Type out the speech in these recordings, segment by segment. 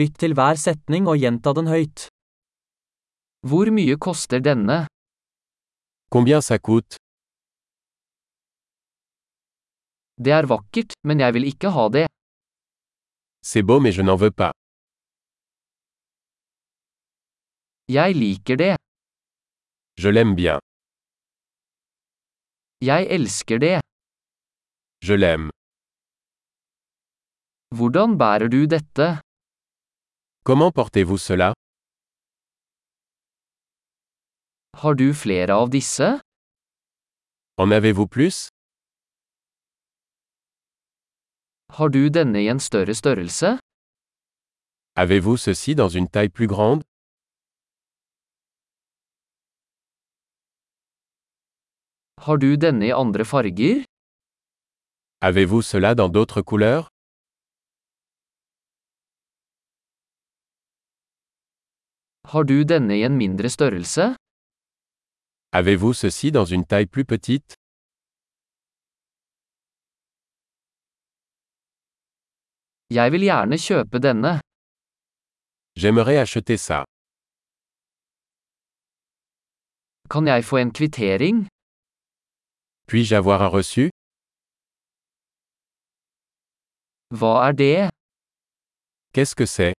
Lytt til hver setning og gjenta den høyt. Hvor mye koster denne? Combien ça coûte Det er vakkert, men jeg vil ikke ha det. C'est beau mais je n'en veux pas. Jeg liker det. Je l'aime bien. Jeg elsker det. Je l'aime. Hvordan bærer du dette? Comment portez-vous cela Har du flere av disse? En avez-vous plus Har du denne i en større størrelse? Avez-vous ceci dans une taille plus grande Har du denne i andre farger? Avez-vous cela dans d'autres couleurs Har du denne i en mindre størrelse? Avez-vous ceci dans une taille plus petite Jeg vil gjerne kjøpe denne. J'aimerais acheter ça. Kan jeg få en kvittering? Puis-je avoir un reçu Hva er det? Qu'est-ce que c'est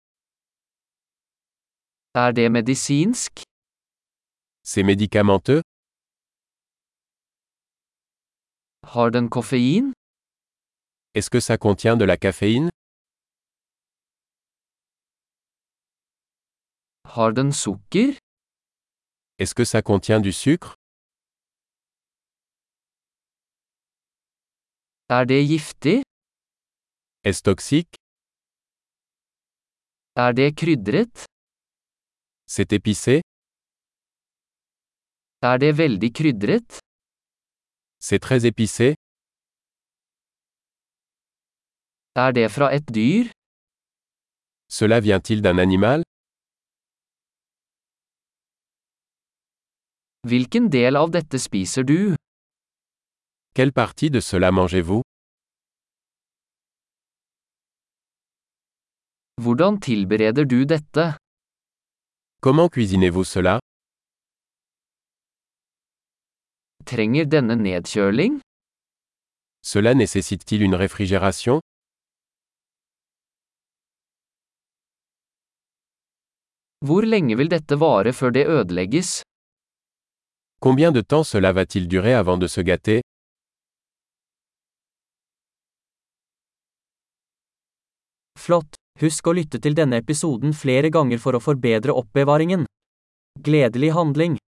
Er det medisinsk? C'est médicamenteux Har den koffein? Est-ce que ça contient de la caféine Har den sukker? Est-ce que ça contient du sucre Er det giftig? Est-ce toxique Er det krydret? C'est épicé Er det veldig krydret? C'est très épicé Er det fra et dyr? Cela vient-il d'un animal Hvilken del av dette spiser du? Quelle partie de cela mangez-vous Hvordan tilbereder du dette? Comment cuisinez-vous cela Trenger denne nedkjøling? Cela nécessite-t-il une réfrigération Hvor lenge vil dette vare før det ødelegges? Combien de temps cela va-t-il durer avant de se gâter Flott! Husk å lytte til denne episoden flere ganger for å forbedre oppbevaringen. Gledelig handling!